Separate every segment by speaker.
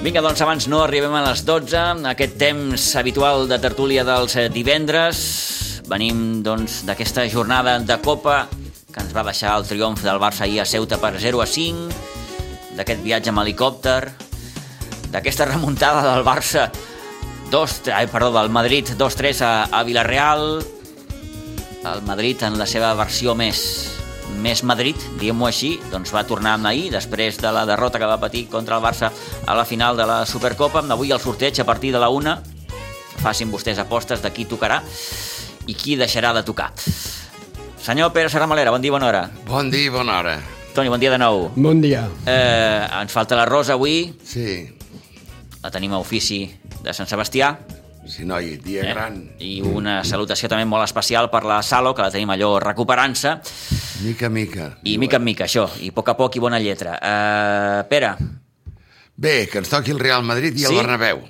Speaker 1: Vinga, doncs abans no arribem a les 12, aquest temps habitual de tertúlia dels eh, divendres. Venim doncs d'aquesta jornada de Copa que ens va deixar el triomf del Barça ahir a Ceuta per 0 a 5, d'aquest viatge amb helicòpter, d'aquesta remuntada del Barça 2, ai, perdó, del Madrid 2-3 a, a Villarreal, el Madrid en la seva versió més més Madrid, diguem-ho així, doncs va tornar amb ahir, després de la derrota que va patir contra el Barça a la final de la Supercopa. Avui el sorteig a partir de la una. Facin vostès apostes de qui tocarà i qui deixarà de tocar. Senyor Pere Serramalera, bon dia, bona hora.
Speaker 2: Bon dia i bona hora.
Speaker 1: Toni, bon dia de nou.
Speaker 3: Bon dia.
Speaker 1: Eh, ens falta la Rosa avui,
Speaker 2: Sí,
Speaker 1: la tenim a ofici de Sant Sebastià.
Speaker 2: si noi, dia
Speaker 1: eh?
Speaker 2: gran.
Speaker 1: I una salutació també molt especial per la Salo, que la tenim allò recuperant-se.
Speaker 2: Mica a mica.
Speaker 1: I mica en mica, això, i a poc a poc i bona lletra. Eh, Pere,
Speaker 2: Bé, que ens toqui el Real Madrid i
Speaker 1: Sí?
Speaker 2: el Bernabéu.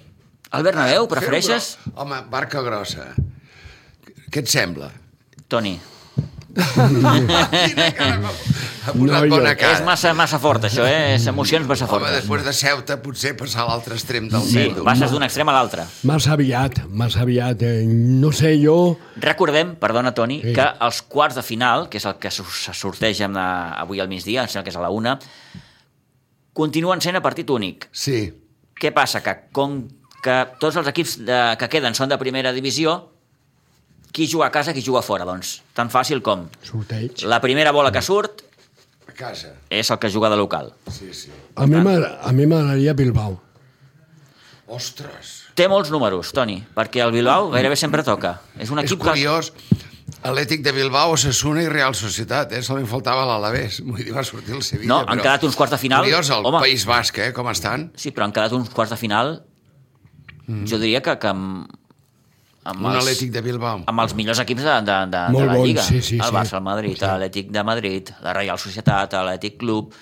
Speaker 1: el Bernabéu, prefereixes?
Speaker 2: Feu gro- Home, barca grossa. Què et sembla?
Speaker 1: Toni,
Speaker 2: Quina cara m'ha ha posat
Speaker 3: No, jo-
Speaker 2: bona
Speaker 1: és
Speaker 2: cara.
Speaker 1: massa, massa fort, això, eh? És emocions massa
Speaker 2: Home,
Speaker 1: fortes.
Speaker 2: després de Ceuta potser passar a l'altre extrem del
Speaker 1: Sí,
Speaker 2: pèndol.
Speaker 1: passes d'un extrem a l'altre.
Speaker 3: Massa aviat, massa aviat. Eh, no sé jo...
Speaker 1: Recordem, perdona, Toni,
Speaker 3: Sí.
Speaker 1: que els quarts de final, que és el que su- se sorteja amb la- avui al migdia, em sembla que és a la una, continuen sent a partit únic.
Speaker 2: Sí,
Speaker 1: Què passa? Que com que tots els equips de, que queden són de primera divisió, qui juga a casa, qui juga a fora, doncs. Tan fàcil com
Speaker 3: Sorteig.
Speaker 1: la primera bola que surt
Speaker 2: a casa.
Speaker 1: és el que juga de local.
Speaker 2: Sí, sí.
Speaker 3: A mi m'agra- a mi m'agradaria Bilbao.
Speaker 2: Ostres,
Speaker 1: Té molts números, Toni, perquè el Bilbao gairebé sempre toca. És un
Speaker 2: és
Speaker 1: equip que...
Speaker 2: curiós. Atlètic de Bilbao, Sassuna i Real Societat, eh? Solament faltava l'Alavés. Vull dir, va sortir el Sevilla,
Speaker 1: No, han quedat uns quarts de final.
Speaker 2: Curiós, el
Speaker 1: Home.
Speaker 2: País Basc, eh? Com estan?
Speaker 1: Sí, però han quedat uns quarts de final. Mm. Jo diria que, que amb, amb,
Speaker 2: Un
Speaker 1: els,
Speaker 2: Atlètic de Bilbao.
Speaker 1: amb els millors equips de, de, de, de
Speaker 3: Molt
Speaker 1: la
Speaker 3: bons,
Speaker 1: Lliga.
Speaker 3: sí, sí,
Speaker 1: el
Speaker 3: sí.
Speaker 1: Barça, el Madrid, sí. l'Atlètic de Madrid, la Reial Societat, l'Atlètic Club,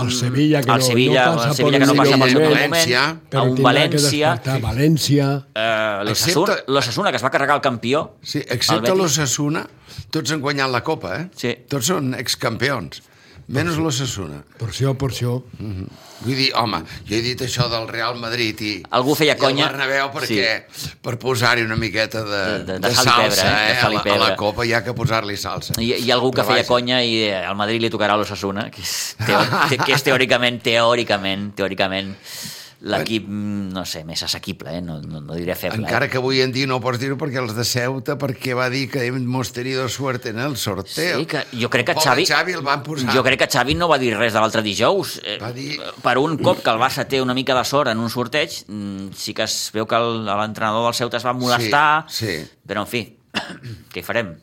Speaker 3: El Sevilla, que
Speaker 1: el
Speaker 3: no,
Speaker 1: Mm. Sevilla,
Speaker 3: no passa
Speaker 1: el Sevilla
Speaker 3: per
Speaker 1: que no
Speaker 3: un
Speaker 1: passa pel
Speaker 3: millor
Speaker 1: seu millor
Speaker 3: moment,
Speaker 1: moment,
Speaker 2: València.
Speaker 3: però
Speaker 1: a un
Speaker 3: tindrà que
Speaker 1: València,
Speaker 3: despertar. València...
Speaker 1: eh, l'Ossassuna,
Speaker 2: Excepte-
Speaker 1: l'Ossassuna, que es va carregar el campió,
Speaker 2: Sí,
Speaker 1: El
Speaker 2: excepte
Speaker 1: Betis.
Speaker 2: l'Ossassuna, tots han guanyat la Copa, eh?
Speaker 1: Sí.
Speaker 2: Tots són excampions, menys l'Ossassuna.
Speaker 3: Per això, per això.
Speaker 2: Vull dir, home, jo he dit això del Real Madrid i...
Speaker 1: Algú feia conya.
Speaker 2: I el Bernabéu perquè, sí. per posar-hi una miqueta de,
Speaker 1: De- de- de sal i
Speaker 2: salsa,
Speaker 1: pebre, eh?
Speaker 2: eh?
Speaker 1: De sal i
Speaker 2: a, la, a
Speaker 1: pebre.
Speaker 2: la Copa hi ha que posar-li salsa.
Speaker 1: hi, hi ha algú que
Speaker 2: Però
Speaker 1: feia
Speaker 2: vaja.
Speaker 1: conya i eh, al Madrid li tocarà a l'Ossassuna, que, és teo, te- que és teòricament, teòricament, teòricament, l'equip, mm, no sé, més assequible, eh? no, no, no diré feble.
Speaker 2: Encara
Speaker 1: eh?
Speaker 2: que avui en dia no pots dir-ho perquè els de Ceuta perquè va dir que hemos tenido suerte en el sorteo.
Speaker 1: Sí, que jo crec que
Speaker 2: Pobre
Speaker 1: Xavi,
Speaker 2: Xavi el van posar.
Speaker 1: jo crec que Xavi no va dir res de l'altre dijous. Eh,
Speaker 2: Va dir-
Speaker 1: Per un cop que el Barça té una mica de sort en un sorteig, mm, sí que es veu que el- l'entrenador del Ceuta es va molestar,
Speaker 2: Sí, sí.
Speaker 1: però en fi, què hi farem?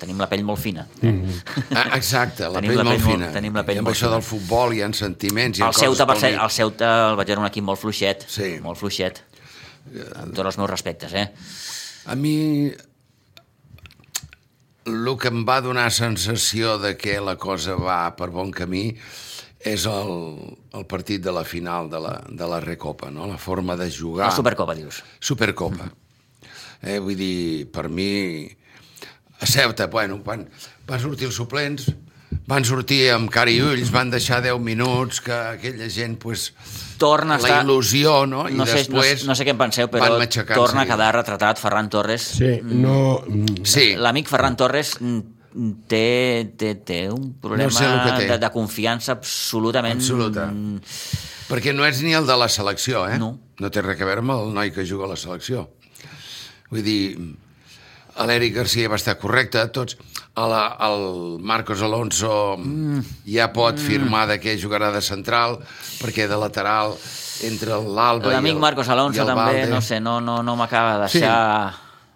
Speaker 1: Tenim la pell molt fina. Mm -hmm.
Speaker 2: Ah, Exacte, la
Speaker 1: Tenim
Speaker 2: pell,
Speaker 1: la pell
Speaker 2: molt
Speaker 1: molt-
Speaker 2: fina.
Speaker 1: tenim la pell
Speaker 2: I amb
Speaker 1: molt
Speaker 2: això
Speaker 1: fina.
Speaker 2: del futbol hi ha sentiments... Hi ha
Speaker 1: El Ceuta, per
Speaker 2: coses
Speaker 1: ser,
Speaker 2: pel
Speaker 1: el Ceuta el vaig veure un equip molt fluixet,
Speaker 2: Sí.
Speaker 1: molt fluixet. Amb tots els meus respectes, eh?
Speaker 2: Ah. mig. A mi el que em va donar sensació de que la cosa va per bon camí és el, el partit de la final de la, de la Recopa, no? la forma de
Speaker 1: Ah.
Speaker 2: jugar.
Speaker 1: La Supercopa, dius.
Speaker 2: Supercopa. Eh, vull dir, per mi... A Ceuta, bueno, van, van sortir els suplents, van sortir amb cara i ulls, van deixar 10 minuts, que aquella gent, pues,
Speaker 1: Torna a
Speaker 2: la
Speaker 1: estar...
Speaker 2: il·lusió, no? I
Speaker 1: no, sé, no,
Speaker 2: després
Speaker 1: no sé què en penseu, però
Speaker 2: van matxacant-se.
Speaker 1: torna a quedar retratat Ferran Torres.
Speaker 3: Sí, no... mm,
Speaker 2: Sí, la...
Speaker 1: L'amic Ferran Torres mm, té, té, té un problema
Speaker 2: No sé el que té.
Speaker 1: de, de confiança absolutament...
Speaker 2: Absoluta.
Speaker 1: Mm,
Speaker 2: perquè no és ni el de la selecció, eh?
Speaker 1: No.
Speaker 2: No té res a veure amb el noi que juga a la selecció. Vull dir, l'Eric Garcia va estar correcte, tots... A la, el Marcos Alonso mm. ja pot firmar de què jugarà de central, perquè de lateral entre l'Alba i el
Speaker 1: L'amic Marcos Alonso
Speaker 2: i el
Speaker 1: també,
Speaker 2: Valde.
Speaker 1: no sé, no, no, no m'acaba de deixar...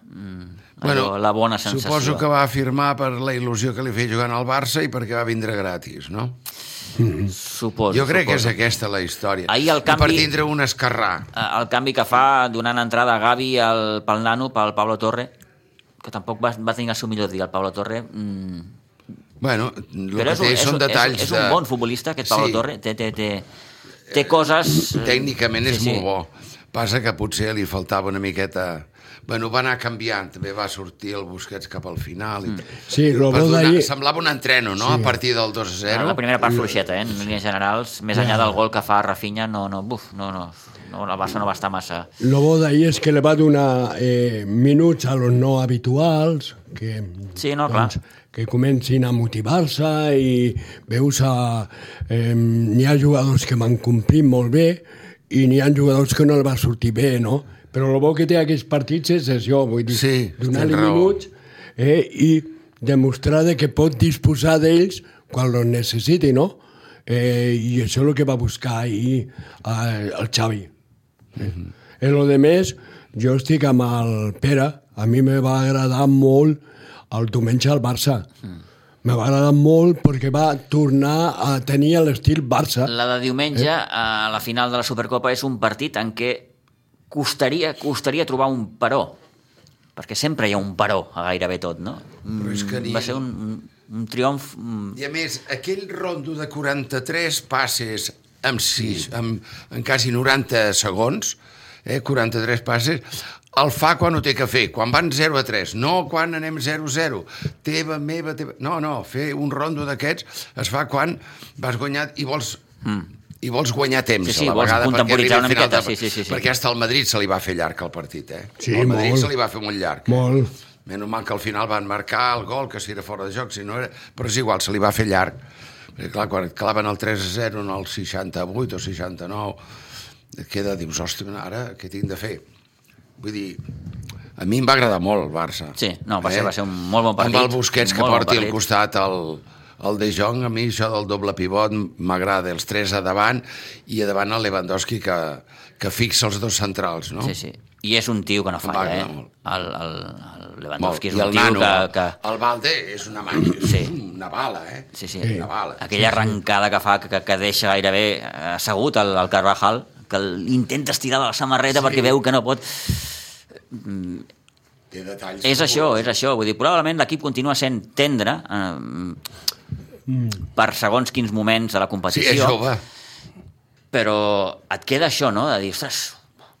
Speaker 1: Mm, allò, la bona sensació.
Speaker 2: Suposo que va firmar per la il·lusió que li feia jugant al Barça i perquè va vindre gratis, no?
Speaker 1: Suposo,
Speaker 2: Jo crec que és
Speaker 1: suposo.
Speaker 2: aquesta la història.
Speaker 1: Ahir el
Speaker 2: I
Speaker 1: canvi-
Speaker 2: Per tindre un escarrà.
Speaker 1: Eh, el canvi que fa donant entrada a Gavi al, pel nano, pel Pablo Torre, que tampoc va, va tenir el seu millor dia, el Pablo Torre. Mm.
Speaker 2: Bueno, el
Speaker 1: Però
Speaker 2: que
Speaker 1: és, un-
Speaker 2: té
Speaker 1: és,
Speaker 2: són
Speaker 1: un-
Speaker 2: detalls
Speaker 1: és, és un
Speaker 2: de-
Speaker 1: bon futbolista, aquest Pablo
Speaker 2: Sí.
Speaker 1: Torre. Té, té, té, té coses... eh,
Speaker 2: Tècnicament és
Speaker 1: sí, sí.
Speaker 2: molt bo, Passa que potser li faltava una miqueta... Bueno, va anar canviant, també va sortir el Busquets cap al final. I...
Speaker 1: Mm.
Speaker 3: Sí, lo
Speaker 2: Per
Speaker 3: bo
Speaker 2: donar-
Speaker 3: d'ahir-
Speaker 2: Semblava un entreno, no?, a partir del 2 a 0.
Speaker 1: Però... La primera part fluixeta, eh? en línies generals, més enllà del gol que fa Rafinha, no, no, buf, no, no, no, el Barça no va estar massa...
Speaker 3: Lo bo d'ahir és que li va donar eh, minuts a los no habituals, que, doncs,
Speaker 1: Sí, no, clar.
Speaker 3: que comencin a motivar-se i veus a... Eh, n'hi ha jugadors que m'han complit molt bé i n'hi ha jugadors que no el va sortir bé, no? Però el bo que té aquests partits és això, vull dir,
Speaker 2: Sí,
Speaker 3: donar-li
Speaker 2: tens raó.
Speaker 3: minuts eh, i demostrar de que pot disposar d'ells quan els necessiti, no? Eh, I això és el que va buscar ahir eh, el Xavi. En lo de més, jo estic amb el Pere. A mi me va agradar molt el diumenge al Barça. Mm. Me va agradar molt perquè va tornar a tenir l'estil Barça.
Speaker 1: La de diumenge, a la final de la Supercopa, és un partit en què costaria, costaria trobar un però, perquè sempre hi ha un però a gairebé tot, no? Mm,
Speaker 2: Però és que ni-
Speaker 1: Va ser un, un- un triomf... mm,
Speaker 2: I a més, aquell rondo de 43 passes amb 6, amb, en quasi 90 segons, eh, 43 passes, el fa quan ho té que fer, quan van 0 a 3, no quan anem 0 a 0, teva, meva, teva... No, no, fer un rondo d'aquests es fa quan vas guanyat i vols... Mm i vols guanyar temps
Speaker 1: Sí, sí,
Speaker 2: a la
Speaker 1: vols
Speaker 2: vegada perquè arribi
Speaker 1: contemporitzar
Speaker 2: al
Speaker 1: una
Speaker 2: final
Speaker 1: miqueta,
Speaker 2: de...
Speaker 1: sí, sí, sí, sí.
Speaker 2: perquè hasta al Madrid se li va fer llarg el partit eh?
Speaker 3: Sí,
Speaker 2: al Madrid
Speaker 3: molt.
Speaker 2: se li va fer molt llarg
Speaker 3: Molt.
Speaker 2: Menys mal que al final van marcar el gol, que si era fora de joc, si no era... Però és igual, se li va fer llarg. Perquè, clar, quan et claven el 3-0 en el 68 o 69, et queda, dius, hòstia, ara què tinc de fer? Vull dir, a mi em va agradar molt el Barça. Eh?
Speaker 1: Sí, no, va ser- va ser un molt bon partit,
Speaker 2: Amb el Busquets que
Speaker 1: molt bon
Speaker 2: porti al
Speaker 1: partit.
Speaker 2: costat el, el De Jong, a mi això del doble pivot m'agrada, els tres a davant i a davant el Lewandowski que, que fixa els dos centrals, no?
Speaker 1: Sí, sí. I és un tio que no falla,
Speaker 2: va
Speaker 1: eh?
Speaker 2: agradar molt.
Speaker 1: El, el, el
Speaker 2: Molt.
Speaker 1: Lewandowski
Speaker 2: I
Speaker 1: és un
Speaker 2: el
Speaker 1: tio
Speaker 2: nano,
Speaker 1: que... que...
Speaker 2: el Valde és una màquina,
Speaker 1: Sí.
Speaker 2: sí. una bala, eh?
Speaker 1: Sí, sí.
Speaker 2: Una bala.
Speaker 1: Aquella arrencada que fa, que, que deixa gairebé assegut el, el Carvajal, que l'intenta estirar de la samarreta sí. perquè veu que no pot.
Speaker 2: Té detalls.
Speaker 1: És això, és això. Vull dir, probablement l'equip continua sent tendre eh, per segons quins moments de la
Speaker 2: Sí, és
Speaker 1: competició,
Speaker 2: jove.
Speaker 1: però et queda això, no?, de dir, ostres,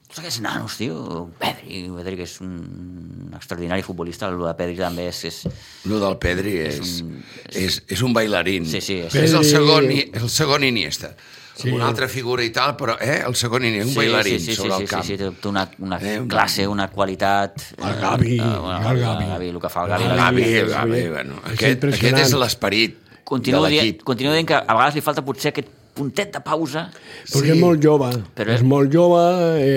Speaker 1: tots aquests nanos, tio, Pedri, Pedri que és un extraordinari futbolista, el de Pedri també és... és...
Speaker 2: Lo del Pedri és, és, un... és, és un bailarín.
Speaker 1: Sí, sí, és-
Speaker 2: És, el
Speaker 3: Pedri-
Speaker 2: segon, i- el segon Iniesta. Sí. Una altra figura i tal, però eh, el segon Iniesta, un bailarín sobre el camp.
Speaker 1: Sí, sí, sí, té una, una
Speaker 2: Eh,
Speaker 1: eh,
Speaker 2: un-
Speaker 1: classe, una qualitat...
Speaker 3: El Gavi,
Speaker 1: eh, bueno,
Speaker 3: el Gavi.
Speaker 1: El que fa el Gavi.
Speaker 2: El
Speaker 1: El
Speaker 2: Gavi,
Speaker 1: Gavi.
Speaker 2: el Gavi,
Speaker 3: sí.
Speaker 2: bueno,
Speaker 3: És
Speaker 2: aquest, aquest és
Speaker 3: impressionant.
Speaker 2: l'esperit de
Speaker 1: Continuo, dient,
Speaker 2: l'equip.
Speaker 1: continuo dient que a vegades li falta potser aquest puntet de pausa
Speaker 3: Perquè és molt jove.
Speaker 1: Però-
Speaker 3: Però... És molt jove,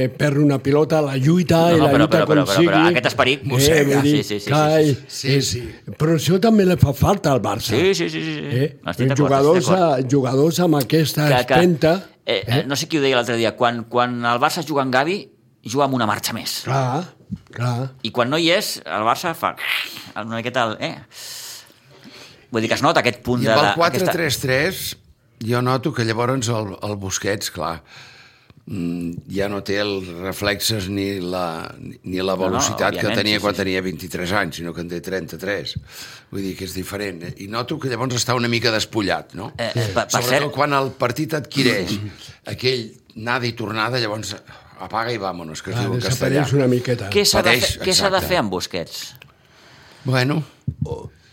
Speaker 3: eh, perd una pilota, la lluita,
Speaker 1: No, no,
Speaker 3: i la
Speaker 1: però-
Speaker 3: lluita
Speaker 1: però- però- però-
Speaker 3: com sigui.
Speaker 1: però aquest esperit mossega. Sí,
Speaker 3: vull
Speaker 1: sí, sí, sí,
Speaker 3: Cai,
Speaker 1: sí,
Speaker 2: sí.
Speaker 3: és-
Speaker 2: Sí,
Speaker 3: Però això també li fa falta al Barça.
Speaker 1: Sí, sí, sí. sí. sí.
Speaker 3: Eh?
Speaker 1: Estic d'acord,
Speaker 3: Jugadors,
Speaker 1: estic d'acord.
Speaker 3: a, jugadors amb aquesta
Speaker 1: Que- que-
Speaker 3: espenta...
Speaker 1: eh, eh? No sé qui ho deia l'altre dia. Quan, quan el Barça juga amb Gavi, juga amb una marxa més.
Speaker 3: Clar, clar.
Speaker 1: I quan no hi és, el Barça fa una miqueta... El, eh? Vull dir que es nota aquest punt
Speaker 2: I
Speaker 1: de...
Speaker 2: amb el
Speaker 1: de- aquesta-
Speaker 2: 4-3-3 jo noto que llavors el, el Busquets, clar, mm, ja no té els reflexes ni la, ni la
Speaker 1: no,
Speaker 2: velocitat no, no, que
Speaker 1: òbviament,
Speaker 2: tenia
Speaker 1: sí,
Speaker 2: quan
Speaker 1: sí, sí.
Speaker 2: tenia 23 anys, sinó que en té 33. Vull dir que és diferent. I noto que llavors està una mica despullat, no?
Speaker 1: Eh, eh, per- per
Speaker 2: Sobretot
Speaker 1: cert-
Speaker 2: quan el partit adquireix aquell nada i tornada, llavors apaga i vámonos, que es
Speaker 3: clar
Speaker 2: diu en castellà.
Speaker 3: Ah, desapareix una miqueta.
Speaker 1: Què s'ha de,
Speaker 2: Pateix,
Speaker 1: fer- què s'ha de
Speaker 2: exacte.
Speaker 1: fer amb Busquets?
Speaker 2: Bueno,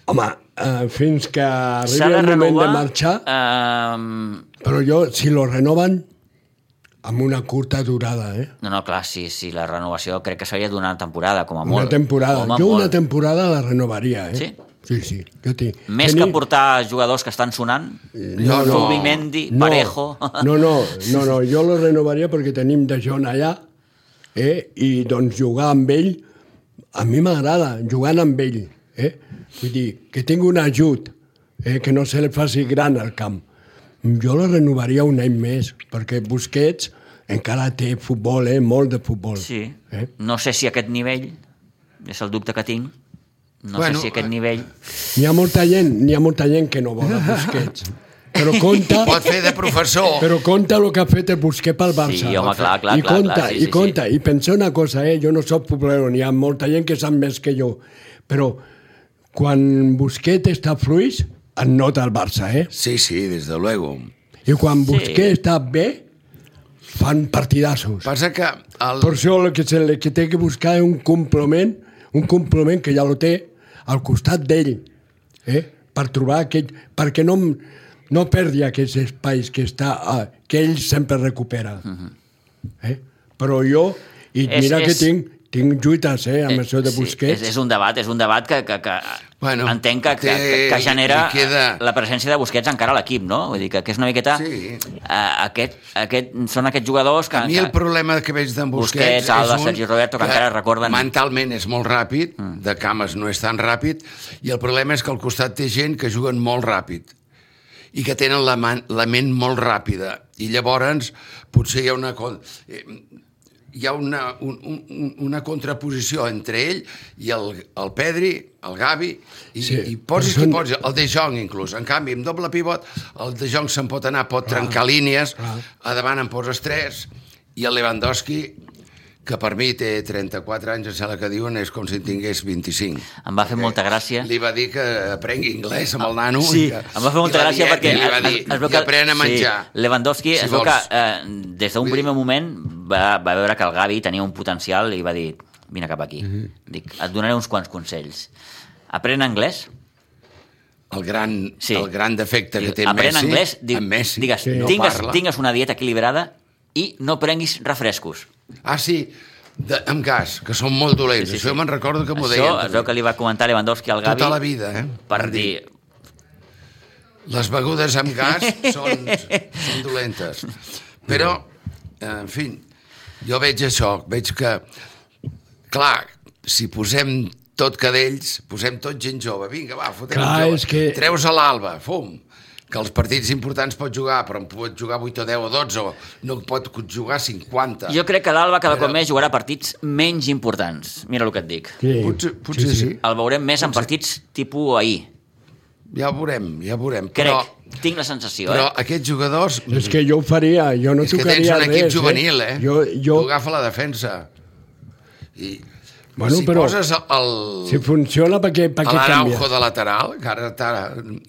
Speaker 3: Home, eh, fins que
Speaker 1: S'ha
Speaker 3: arribi
Speaker 1: de
Speaker 3: el moment
Speaker 1: renovar...
Speaker 3: de marxar...
Speaker 1: ehm,
Speaker 3: Però jo, si lo renoven, amb una curta durada, eh?
Speaker 1: No, no, clar, sí, sí, la renovació crec que seria d'una temporada, com a
Speaker 3: Una
Speaker 1: molt.
Speaker 3: temporada.
Speaker 1: Com a
Speaker 3: jo una
Speaker 1: molt.
Speaker 3: temporada la renovaria, eh?
Speaker 1: Sí?
Speaker 3: Sí, sí. Jo tinc...
Speaker 1: Més que portar jugadors que estan sonant,
Speaker 2: no, no.
Speaker 1: Zubimendi, Parejo...
Speaker 3: No, no, no, no, jo lo renovaria perquè tenim De Jong allà eh? i doncs jugar amb ell a mi m'agrada, jugant amb ell. Eh? Vull dir, que tingui un ajut, eh? que no se li faci gran al camp. Jo lo renovaria un any més, perquè Busquets encara té futbol, eh? molt de futbol.
Speaker 1: Sí.
Speaker 3: Eh?
Speaker 1: No sé si aquest nivell, és el dubte que tinc, no bueno,
Speaker 2: Bueno,
Speaker 1: sé si aquest
Speaker 2: eh,
Speaker 1: nivell...
Speaker 3: N'hi ha molta gent, n'hi ha molta gent que no vol a Busquets. Però compte,
Speaker 2: pot fer de professor.
Speaker 3: Però compta el que ha fet el Busquets pel Barça.
Speaker 1: Oh. Sí, home, clar, clar,
Speaker 3: I
Speaker 1: clar,
Speaker 3: compta,
Speaker 1: clar, sí, sí,
Speaker 3: i compta. I pensa una cosa, eh? jo no sóc futbolero, n'hi ha molta gent que sap més que jo, però quan Busquets està fluix, en nota el Barça, eh?
Speaker 2: Sí, sí, des de luego.
Speaker 3: I quan
Speaker 1: Sí.
Speaker 3: Busquets està bé, fan partidassos.
Speaker 2: Passa que... El...
Speaker 3: Per això el que, se, el que té que buscar és un complement, un complement que ja lo té, al costat d'ell, eh? per trobar aquell... perquè no, no perdi aquests espais que, està, eh, que ell sempre recupera.
Speaker 2: Uh-huh.
Speaker 3: eh? Però jo, i
Speaker 1: És-
Speaker 3: mira que
Speaker 1: és-
Speaker 3: tinc, tinc lluites eh, amb això de Busquets,
Speaker 1: Sí, és, és un debat, és un debat que, que, que bueno,
Speaker 2: Bueno,
Speaker 1: entenc que, que, que,
Speaker 2: té-
Speaker 1: que genera
Speaker 2: i queda-
Speaker 1: la presència de Busquets encara a l'equip, no? Vull dir que, que és una miqueta...
Speaker 2: Sí.
Speaker 1: A, aquest, aquest, són aquests jugadors que...
Speaker 2: A mi el problema que veig d'en Busquets,
Speaker 1: Busquets, Alba,
Speaker 2: és un
Speaker 1: Sergi Roberto, que encara recorden- Mm.
Speaker 2: Mentalment és molt ràpid, de cames no és tan ràpid, i el problema és que al costat té gent que juguen molt ràpid i que tenen la, man, la ment molt ràpida. I llavors potser hi ha una, con- eh, hi ha una, un, un, una contraposició entre ell i el, el Pedri, el Gavi, i,
Speaker 3: Sí,
Speaker 2: sí, i posis
Speaker 3: però
Speaker 2: qui
Speaker 3: són-
Speaker 2: posis, el De Jong inclús. En canvi, amb doble pivot, el De Jong se'n pot anar, pot trencar línies,
Speaker 3: clar.
Speaker 2: a davant en poses 3, i el Lewandowski, que per mi té 34 anys, em sembla que diuen, és com si en tingués 25.
Speaker 1: Em va fer molta
Speaker 2: Eh,
Speaker 1: gràcia.
Speaker 2: Li va dir que aprengui anglès amb el
Speaker 1: eh?
Speaker 2: nano.
Speaker 1: Ah, Sí,
Speaker 2: i que,
Speaker 1: em va fer
Speaker 2: i
Speaker 1: molta
Speaker 2: la
Speaker 1: gràcia
Speaker 2: dieta,
Speaker 1: perquè...
Speaker 2: I li va dir, i aprèn a menjar.
Speaker 1: Sí, Lewandowski
Speaker 2: Si
Speaker 1: es veu que
Speaker 2: vols.
Speaker 1: eh, des d'un
Speaker 2: Vull dir-
Speaker 1: primer moment va, va veure que el Gavi tenia un potencial i va dir, vine cap aquí.
Speaker 2: Mhm.
Speaker 1: Dic, et donaré uns quants consells. Aprèn anglès,
Speaker 2: El gran,
Speaker 1: Sí.
Speaker 2: el gran defecte que té en
Speaker 1: aprèn
Speaker 2: Messi,
Speaker 1: anglès, diu,
Speaker 2: en Messi
Speaker 1: digues,
Speaker 2: que no
Speaker 1: tingues,
Speaker 2: parla.
Speaker 1: tingues una dieta equilibrada i no prenguis refrescos.
Speaker 2: Ah, sí, de, amb gas, que són molt dolents. Sí, sí, sí. Això me'n recordo que m'ho
Speaker 1: Això
Speaker 2: deien.
Speaker 1: es veu que li va comentar Lewandowski al Gavi
Speaker 2: Tota la vida, eh?
Speaker 1: per
Speaker 2: Van
Speaker 1: dir,
Speaker 2: Les begudes amb gas són, són dolentes. Però, en fi, jo veig això, veig que, clar, si posem tot cadells, posem tot gent jove, vinga, va, fotem
Speaker 3: Clar,
Speaker 2: gent jove.
Speaker 3: és que-
Speaker 2: Treus a l'alba, fum, que els partits importants pot jugar, però en pot jugar 8 o 10 o 12, o no en pot jugar 50.
Speaker 1: jo crec que l'Alba cada cop més jugarà partits menys importants. Mira el que et dic.
Speaker 3: Sí,
Speaker 2: Potser, potser sí, sí.
Speaker 1: El veurem més en partits tipus ahir.
Speaker 2: ja ho veurem, ja ho veurem.
Speaker 1: Crec,
Speaker 2: Però,
Speaker 1: tinc la sensació,
Speaker 2: però
Speaker 1: eh?
Speaker 2: aquests jugadors...
Speaker 3: És que jo ho faria, jo no
Speaker 2: És que tens
Speaker 3: tocaria
Speaker 2: un equip
Speaker 3: res,
Speaker 2: juvenil, eh?
Speaker 3: Jo, jo,
Speaker 2: Tu agafa la defensa. I...
Speaker 3: Bueno,
Speaker 2: si
Speaker 3: però-
Speaker 2: poses el...
Speaker 3: si funciona, per què, per
Speaker 2: a
Speaker 3: què canvia?
Speaker 2: l'Araujo de lateral, que ara està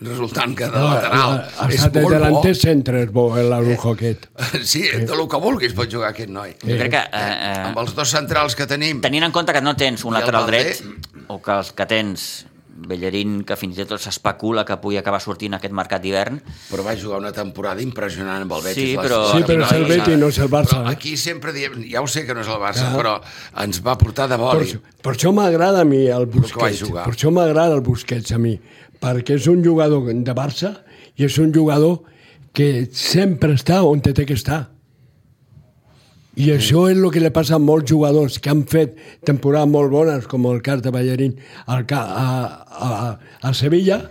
Speaker 2: resultant que de
Speaker 3: No,
Speaker 2: lateral
Speaker 3: ha- ha
Speaker 2: és
Speaker 3: estat de
Speaker 2: molt Eh,
Speaker 3: delanter centre, és bo, l'Araujo aquest.
Speaker 2: bo. Sí, de lo que vulguis pot jugar aquest noi.
Speaker 1: Jo crec que, eh,
Speaker 2: Amb
Speaker 1: eh,
Speaker 2: els dos centrals que tenim.
Speaker 1: tenint en compte que no tens un
Speaker 2: I el
Speaker 1: lateral
Speaker 2: Valder.
Speaker 1: dret, o que els que tens Bellerín, que fins i tot s'especula que pugui acabar sortint aquest mercat d'hivern,
Speaker 2: Però va jugar una temporada impressionant amb el Betis.
Speaker 1: Sí,
Speaker 2: la
Speaker 1: però-
Speaker 2: temporada
Speaker 1: Sí, però és el
Speaker 2: passada.
Speaker 1: Betis,
Speaker 3: no és el Barça,
Speaker 2: Però
Speaker 3: eh?
Speaker 2: aquí sempre diem, ja ho sé que no és el Barça, però ens va portar de
Speaker 3: Per,
Speaker 2: boli.
Speaker 3: això- per això m'agrada a mi el
Speaker 2: que va
Speaker 3: Busquets.
Speaker 2: jugar.
Speaker 3: Per això m'agrada el Busquets a mi, perquè és un jugador de Barça i és un jugador que sempre està on té que estar. I això és el que li passa a molts jugadors que han fet temporades molt bones, com el cas de Ballerín al, ca- a, a, a Sevilla,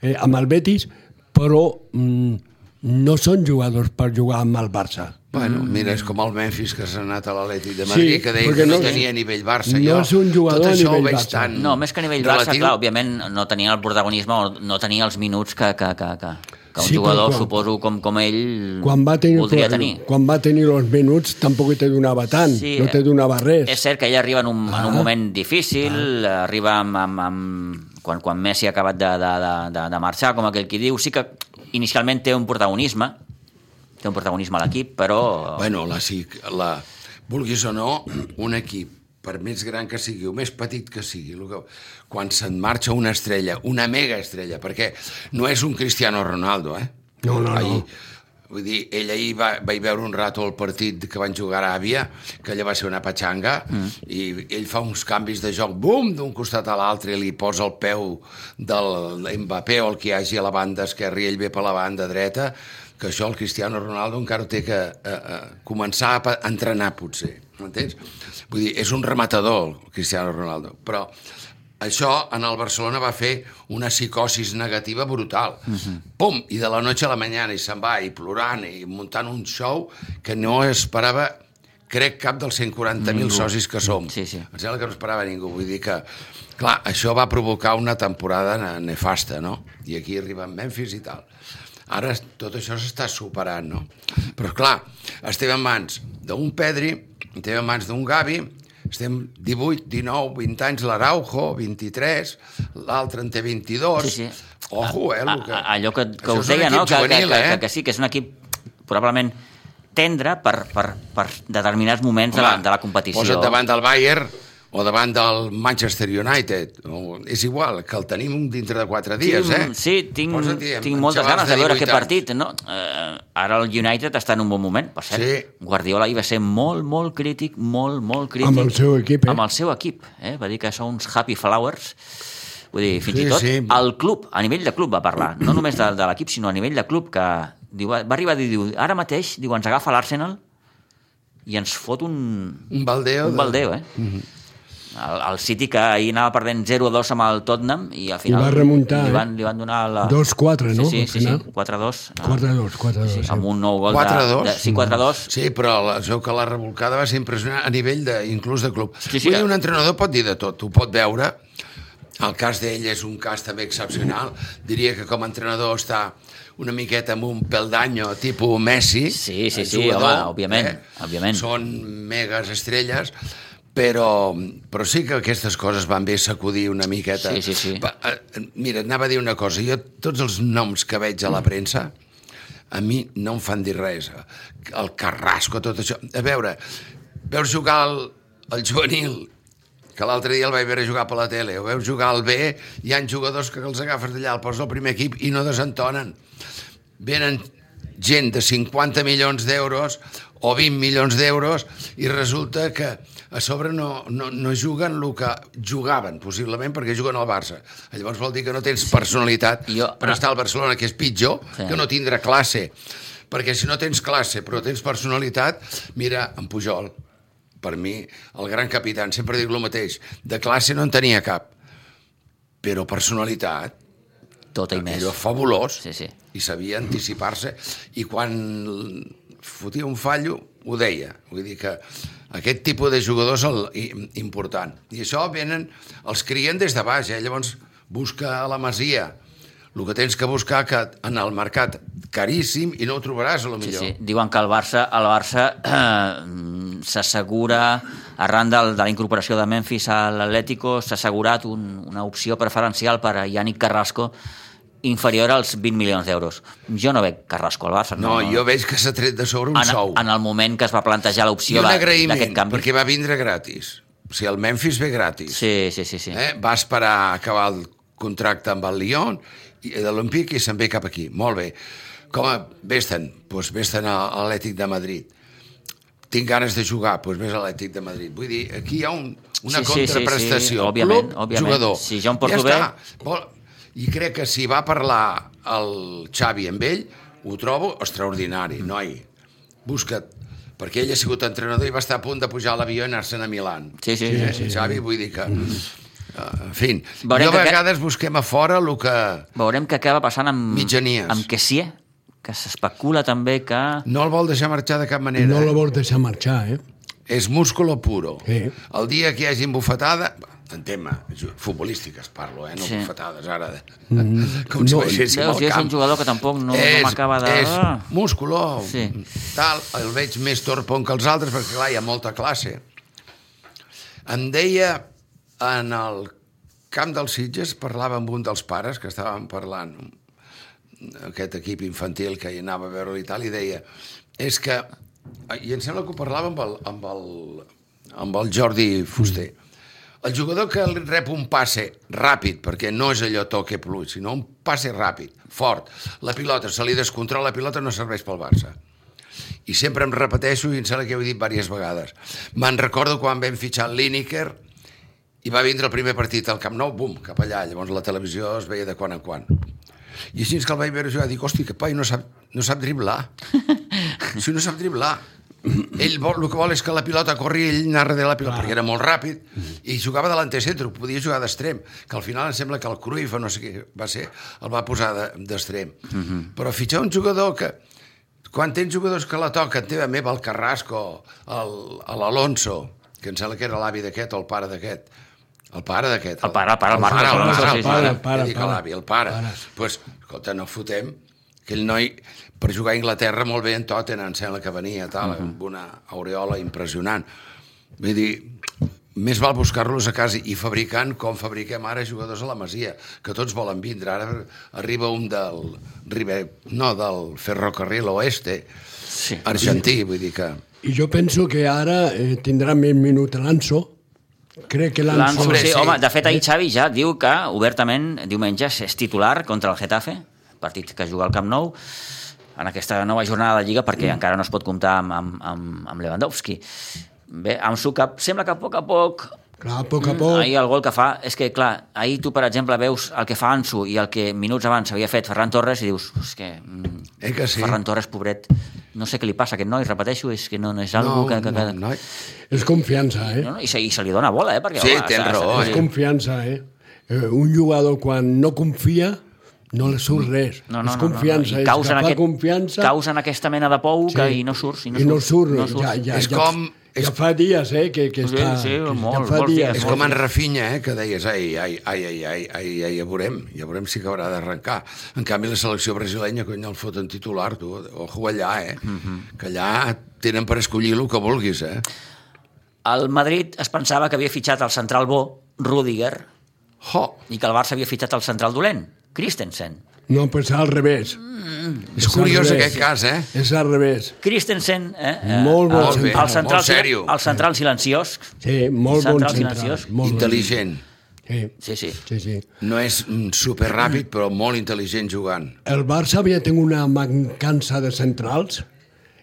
Speaker 3: eh, amb el Betis, però mm, no són jugadors per jugar amb el Barça.
Speaker 2: Bueno, mira, és com el Memphis que s'ha anat a l'Atlètic de Madrid,
Speaker 3: Mm. Sí,
Speaker 2: sí, que deia
Speaker 3: perquè
Speaker 2: que no,
Speaker 3: no-
Speaker 2: tenia nivell Barça.
Speaker 3: no
Speaker 2: jo,
Speaker 3: és un jugador
Speaker 2: Tot
Speaker 3: a
Speaker 2: això ho
Speaker 3: nivell
Speaker 2: veig
Speaker 3: Barça.
Speaker 2: tan
Speaker 1: No, més que a nivell Barça, clar, òbviament no tenia el protagonisme o no tenia els minuts que, que, que, que, que un
Speaker 3: Sí,
Speaker 1: sí,
Speaker 3: però
Speaker 1: jugador,
Speaker 3: quan-
Speaker 1: suposo, com, com ell
Speaker 3: quan va tenir,
Speaker 1: Mm. voldria tenir.
Speaker 3: quan va tenir els minuts tampoc hi te donava tant, sí, no te donava res.
Speaker 1: eh, És cert que ell arriba en un, en un
Speaker 3: Ah.
Speaker 1: moment difícil, arriba amb, amb, amb, quan, quan Messi ha acabat de, de, de, de, de marxar, com aquell qui diu, sí que inicialment té un protagonisme, té un protagonisme a l'equip, però...
Speaker 2: Bueno, la, sí, la, vulguis o no, un equip, per més gran que sigui o més petit que sigui, el que, quan se'n marxa una estrella, una mega estrella, perquè no és un Cristiano Ronaldo, eh?
Speaker 3: No, no, no.
Speaker 2: Vull dir, ell ahir va, vaig veure un rato el partit que van jugar a Aràbia, que allà va ser una patxanga, mm. i ell fa uns canvis de joc, bum, d'un costat a l'altre, i li posa el peu del Mbappé o el que hi hagi a la banda esquerra, i ell ve per la banda dreta, que això el Cristiano Ronaldo encara ho té que eh, eh, començar a pa- a entrenar, potser, m'entens? Vull dir, és un rematador, el Cristiano Ronaldo, però això en el Barcelona va fer una psicosis negativa brutal. Uh
Speaker 1: Mhm.
Speaker 2: -huh. Pum, i de la noche a la mañana i se'n va, i plorant, i muntant un show que no esperava, crec, cap dels 140.000 socis que som.
Speaker 1: Sí, sí.
Speaker 2: Em sembla que no esperava ningú, vull dir que... Clar, això va provocar una temporada ne- nefasta, no? I aquí arriba en Memphis i tal. Ara es- tot això s'està superant, no? Però, clar, estem en mans d'un Pedri, estem en mans d'un Gavi, estem 18, 19, 20 anys l'Araujo, 23, l'altre en té 22...
Speaker 1: Sí, sí.
Speaker 2: Ojo, eh, el que...
Speaker 1: a- a- allò que, que
Speaker 2: Això
Speaker 1: us
Speaker 2: és un
Speaker 1: deia,
Speaker 2: equip
Speaker 1: no? Que,
Speaker 2: juvenil,
Speaker 1: que, que,
Speaker 2: eh?
Speaker 1: que, que sí, que és un equip probablement tendre per, per, per determinats moments de la, de la competició.
Speaker 2: Posa't davant del Bayern o davant del Manchester United. O, és igual, que el tenim dintre de quatre dies, eh?
Speaker 1: Sí, tinc,
Speaker 2: Posa't i amb
Speaker 1: tinc moltes
Speaker 2: xavals
Speaker 1: ganes de veure
Speaker 2: 18
Speaker 1: aquest
Speaker 2: anys.
Speaker 1: partit. No? Eh, ara el United està en un bon moment, per cert.
Speaker 2: Sí.
Speaker 1: Guardiola hi va ser molt, molt crític, molt, molt crític.
Speaker 3: Amb el seu equip, eh?
Speaker 1: Amb el seu equip, eh? Va dir que són uns happy flowers. Vull dir, fins
Speaker 2: Sí,
Speaker 1: i tot
Speaker 2: sí.
Speaker 1: el club, a nivell de club va parlar, no només de, de l'equip, sinó a nivell de club, que diu, va arribar a dir, diu, ara mateix, diu, ens agafa l'Arsenal i ens fot un,
Speaker 2: Un baldeo.
Speaker 1: un
Speaker 2: de-
Speaker 1: baldeu, eh?
Speaker 3: Mm-hmm.
Speaker 1: El, el City que ahir anava perdent 0-2 amb el Tottenham i al final
Speaker 3: va remuntar,
Speaker 1: li,
Speaker 3: eh?
Speaker 1: van, li van donar la...
Speaker 3: 2-4, no?
Speaker 1: Sí, sí,
Speaker 3: Al
Speaker 1: sí,
Speaker 3: final.
Speaker 1: sí 4-2. eh,
Speaker 3: 4-2, 4-2.
Speaker 1: Sí, amb un nou gol
Speaker 2: 4-2?
Speaker 1: de, de... Sí, 4-2.
Speaker 2: Sí, però la, es veu que la revolcada va ser impressionant a nivell de, inclús de club.
Speaker 1: Sí,
Speaker 2: Sí,
Speaker 1: sí.
Speaker 2: sí, Vull dir, un entrenador pot dir de tot, ho pot veure. El cas d'ell és un cas també excepcional. Diria que com a entrenador està una miqueta amb un pèl d'anyo tipus Messi.
Speaker 1: Sí, sí,
Speaker 2: el
Speaker 1: sí, home, òbviament, òbviament.
Speaker 2: Són megas estrelles, però, però sí que aquestes coses van bé sacudir una miqueta.
Speaker 1: Sí, sí, sí.
Speaker 2: Va, eh, Mira, et anava a dir una cosa. Jo, tots els noms que veig a
Speaker 1: Mm.
Speaker 2: la premsa, a mi no em fan dir res. El Carrasco, tot això... A veure, veus jugar el, el juvenil, que l'altre dia el vaig veure jugar per la tele, o veus jugar al B, hi han jugadors que els agafes d'allà, el poses al primer equip i no desentonen. Venen gent de 50 milions d'euros o 20 milions d'euros i resulta que a sobre no, no, no juguen el que jugaven, possiblement perquè juguen al Barça. Llavors vol dir que no tens personalitat
Speaker 1: Jo-
Speaker 2: per estar al Barcelona, que és pitjor,
Speaker 1: Sí.
Speaker 2: que no tindre classe. Perquè si no tens classe però tens personalitat, mira, en Pujol, per mi, el gran capità, sempre dic el mateix, de classe no en tenia cap, però personalitat,
Speaker 3: Mm.
Speaker 1: Tot Tota i més.
Speaker 2: allò fabulós,
Speaker 1: Sí, sí.
Speaker 2: i sabia anticipar-se, i quan l- fotia un fallo, ho deia. Vull dir que aquest tipus de jugadors és el i- important. I això venen, els crien des de baix, eh? llavors busca a la masia el que tens que buscar que en el mercat caríssim i no ho trobaràs a lo
Speaker 1: Sí,
Speaker 2: millor.
Speaker 1: sí. Diuen que el Barça el Barça eh, s'assegura, arran del, de la incorporació de Memphis a l'Atlético, s'ha assegurat un, una opció preferencial per a Yannick Carrasco inferior als 20 milions d'euros. Jo no veig Carrasco al Barça.
Speaker 2: No, jo veig que s'ha tret de sobre un
Speaker 1: en,
Speaker 2: sou.
Speaker 1: en el moment que es va plantejar
Speaker 2: I
Speaker 1: l'opció
Speaker 2: un
Speaker 1: de-
Speaker 2: agraïment,
Speaker 1: d'aquest canvi.
Speaker 2: perquè va vindre gratis. O sigui, el Memphis ve gratis.
Speaker 1: Sí, sí, sí. sí. Eh?
Speaker 2: Eh? Va esperar a acabar el contracte amb el Lyon i eh, de l'Olímpic i se'n ve cap aquí. Molt bé. Com a... Vés-te'n. Doncs vés-te'n a a l'Atlètic de Madrid. Tinc ganes de jugar, doncs vés a l'Atlètic de Madrid. Vull dir, aquí hi ha un, una
Speaker 1: Sí, sí, sí, sí,
Speaker 2: contraprestació.
Speaker 1: òbviament,
Speaker 2: Club,
Speaker 1: òbviament.
Speaker 2: Jugador.
Speaker 1: Si jo em porto
Speaker 2: ja està. Vol- I crec que si va parlar el Xavi amb ell, ho trobo extraordinari, noi. Busca't perquè ell ha sigut entrenador i va estar a punt de pujar a l'avió i anar-se'n a Milan.
Speaker 1: Sí, sí,
Speaker 2: Eh,
Speaker 1: sí, sí.
Speaker 2: Xavi, vull dir que... Uh, en fi,
Speaker 1: Veurem
Speaker 2: jo
Speaker 1: que
Speaker 2: a
Speaker 1: aquest-
Speaker 2: vegades busquem a fora el que...
Speaker 1: Veurem què acaba passant amb,
Speaker 2: Mitjanies.
Speaker 1: amb Kessie, que s'especula també que...
Speaker 2: No el vol deixar marxar de cap manera. eh?
Speaker 3: No la vols deixar marxar, eh?
Speaker 2: És músculo puro.
Speaker 3: Sí.
Speaker 2: El dia que hi hagi bufetada... En tema ju- futbolístiques parlo, eh? No
Speaker 1: Sí.
Speaker 2: sí. bufetades ara. De... Mm. Com si
Speaker 3: No,
Speaker 2: veiéssim
Speaker 1: Veus,
Speaker 2: al
Speaker 1: i és
Speaker 2: camp.
Speaker 1: un jugador que tampoc no- no
Speaker 2: És-
Speaker 1: m'acaba de-
Speaker 2: És
Speaker 1: Ah.
Speaker 2: músculo.
Speaker 1: Sí.
Speaker 2: Sí. Tal, el veig més torpon que els altres perquè, clar, hi ha molta classe. Em deia en el camp dels Sitges parlava amb un dels pares que estàvem parlant aquest equip infantil que hi anava a veure i tal i deia és que Ah, i em sembla que ho parlava amb el, amb el, amb el Jordi Fuster el jugador que li rep un passe ràpid, perquè no és allò toque plus, sinó un passe ràpid, fort. La pilota se li descontrola, la pilota no serveix pel Barça i sempre em repeteixo i em sembla que ho he dit diverses vegades. Me'n recordo quan vam fitxar el Lineker i va vindre el primer partit al Camp Nou, bum, cap allà. Llavors la televisió es veia de quan en quan. I així que el vaig veure jugar, dic, hosti, que pai no sap, no sap driblar. Si no sap driblar. Ell vol, el que vol és que la pilota corri i ell anar darrere la pilota, perquè era molt ràpid i jugava de l'antecentro, podia jugar d'extrem que al final em sembla que el Cruyff o no sé qui va ser, el va posar de- d'extrem de,
Speaker 1: Mhm.
Speaker 2: però fitxar un jugador que quan tens jugadors que la toquen, teva meva, el Carrasco, el- a l'Alonso, que em sembla que era l'avi d'aquest o el pare d'aquest, el pare d'aquest.
Speaker 1: El pare, el pare, el Marcos
Speaker 2: el
Speaker 1: Alonso,
Speaker 2: pare,
Speaker 1: sí,
Speaker 2: el
Speaker 1: sí,
Speaker 2: pare,
Speaker 3: sí. Pare,
Speaker 2: ja dic
Speaker 3: pare,
Speaker 2: l'avi, el pare.
Speaker 3: pare.
Speaker 2: Doncs, pues, escolta, no fotem aquell noi per jugar a Anglaterra molt bé en Tottenham, em sembla que venia, tal, amb
Speaker 1: Mhm.
Speaker 2: una aureola impressionant. Vull dir, més val buscar-los a casa i fabricant com fabriquem ara jugadors a la Masia, que tots volen vindre. Ara arriba un del, Ribe- no, del Ferrocarril Oeste,
Speaker 1: Sí.
Speaker 2: argentí, vull dir que...
Speaker 3: I jo penso que ara eh, tindrà més minuts l'Anso. Crec que l'Anso...
Speaker 1: L'Anso,
Speaker 2: Hombre,
Speaker 1: sí,
Speaker 2: sí.
Speaker 1: home, de fet ahir Xavi ja diu que obertament diumenge és titular contra el Getafe, partit que juga al Camp Nou, en aquesta nova jornada de Lliga perquè
Speaker 2: Mm.
Speaker 1: encara no es pot comptar amb, amb, amb, amb Lewandowski. Bé, amb su cap, sembla que a poc a poc
Speaker 3: Clar, a poc a poc...
Speaker 1: Mm. Ahir el gol que fa, és que clar, ahir tu per exemple veus el que fa Ansu i el que minuts abans havia fet Ferran Torres i dius, és que, mm,
Speaker 2: Eh que sí?
Speaker 1: Ferran Torres, pobret, no sé què li passa a aquest noi, repeteixo, és que no, no és algo
Speaker 2: No,
Speaker 1: que... que, que...
Speaker 2: no,
Speaker 3: eh.
Speaker 2: noi.
Speaker 3: És confiança, eh?
Speaker 1: No, no, i, se, I se li dona bola, eh? Perquè,
Speaker 2: Sí, tens
Speaker 1: està-
Speaker 2: raó,
Speaker 1: està-
Speaker 2: eh?
Speaker 3: És confiança, eh? eh? Un jugador quan no confia no li surt res.
Speaker 1: Mm. No, no,
Speaker 3: és
Speaker 1: no, no,
Speaker 3: confiança,
Speaker 1: no, i
Speaker 3: és
Speaker 1: causen
Speaker 3: agafar
Speaker 1: aquest,
Speaker 3: confiança...
Speaker 1: Causen aquesta mena de pou sí. que i no surts. I no,
Speaker 3: I no surt,
Speaker 1: surts,
Speaker 3: Ja, ja,
Speaker 2: És
Speaker 3: ja,
Speaker 2: com-
Speaker 3: Ja fa dies, eh, que, que
Speaker 1: Sí,
Speaker 3: està...
Speaker 1: sí,
Speaker 3: que
Speaker 1: molt,
Speaker 3: ja fa
Speaker 1: molts dies,
Speaker 3: dies.
Speaker 2: És com en Rafinha, eh, que deies, ai, ai, ai, ai, ai, ai, ai ja veurem, ja veurem si acabarà d'arrencar. En canvi, la selecció brasilenya, cony, el foten titular, tu, ojo allà, eh, que allà tenen per escollir el que vulguis, eh.
Speaker 1: El Madrid es pensava que havia fitxat el central bo, Rudiger,
Speaker 2: Jo,
Speaker 1: i que el Barça havia fitxat el central dolent, Christensen.
Speaker 3: No, pues al revés.
Speaker 2: Mm. és curiós
Speaker 3: revés.
Speaker 2: aquest cas, eh.
Speaker 3: És al revés.
Speaker 1: Christensen, eh? eh,
Speaker 3: Molt bon
Speaker 1: el,
Speaker 2: central.
Speaker 1: el, central,
Speaker 2: Molt serio.
Speaker 1: el central silenciós.
Speaker 3: Sí,
Speaker 1: Central
Speaker 3: molt bon central.
Speaker 1: silenciós.
Speaker 3: Molt
Speaker 2: Intel·ligent.
Speaker 3: Bon. Sí,
Speaker 1: Sí, sí.
Speaker 3: sí, sí.
Speaker 2: No és mm, superràpid, però molt intel·ligent jugant.
Speaker 3: El Barça havia tingut una mancança de centrals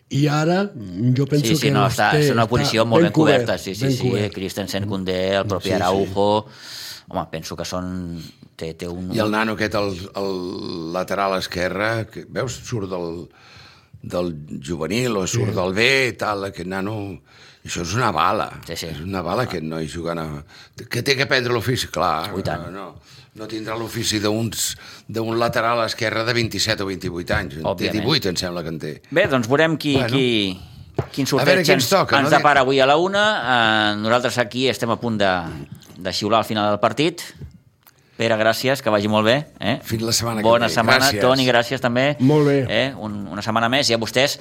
Speaker 3: i ara jo penso
Speaker 1: Sí, sí,
Speaker 3: que
Speaker 1: no,
Speaker 3: els
Speaker 1: està,
Speaker 3: té-
Speaker 1: és una
Speaker 3: està
Speaker 1: posició molt ben coberta.
Speaker 3: cobert,
Speaker 1: Sí, sí,
Speaker 3: ben
Speaker 1: sí,
Speaker 3: cobert.
Speaker 1: Christensen, Koundé, el propi
Speaker 3: Sí, sí.
Speaker 1: Araujo... Home, penso que són... Té, té un...
Speaker 2: I el nano aquest, el, el lateral esquerre, que veus, surt del, del juvenil o surt sí. del B i tal, aquest nano... Això és una bala.
Speaker 1: Sí, sí.
Speaker 2: És una bala aquest noi jugant a... Que té que prendre l'ofici, clar.
Speaker 1: Ui, tant.
Speaker 2: No, no tindrà l'ofici d'uns- d'un lateral esquerre de 27 o 28 anys. En Té
Speaker 1: Òbviament.
Speaker 2: 18, em sembla que en té.
Speaker 1: Bé, doncs veurem qui,
Speaker 2: Bueno.
Speaker 1: bueno. qui, quin sorteig
Speaker 2: veure qui ens
Speaker 1: ens,
Speaker 2: toca,
Speaker 1: ens
Speaker 2: no?
Speaker 1: depara avui a la una. Eh, nosaltres aquí estem a punt de, de xiular al final del partit. Pere, gràcies, que vagi molt bé. Eh?
Speaker 2: Fins la setmana que
Speaker 1: Bona
Speaker 2: ve.
Speaker 1: setmana.
Speaker 2: Gràcies.
Speaker 1: Toni, gràcies també.
Speaker 3: Molt bé.
Speaker 1: Eh? Un, una setmana més. I a vostès,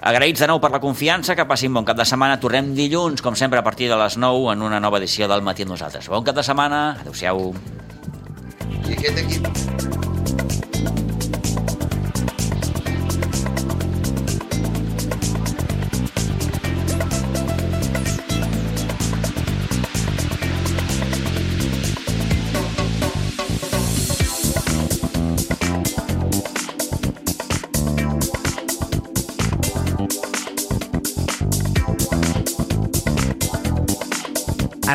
Speaker 1: agraïts de nou per la confiança, que passin bon cap de setmana. Tornem dilluns, com sempre, a partir de les 9 en una nova edició del Matí amb nosaltres. Bon cap de setmana. Adéu-siau.
Speaker 2: I aquest equip
Speaker 4: A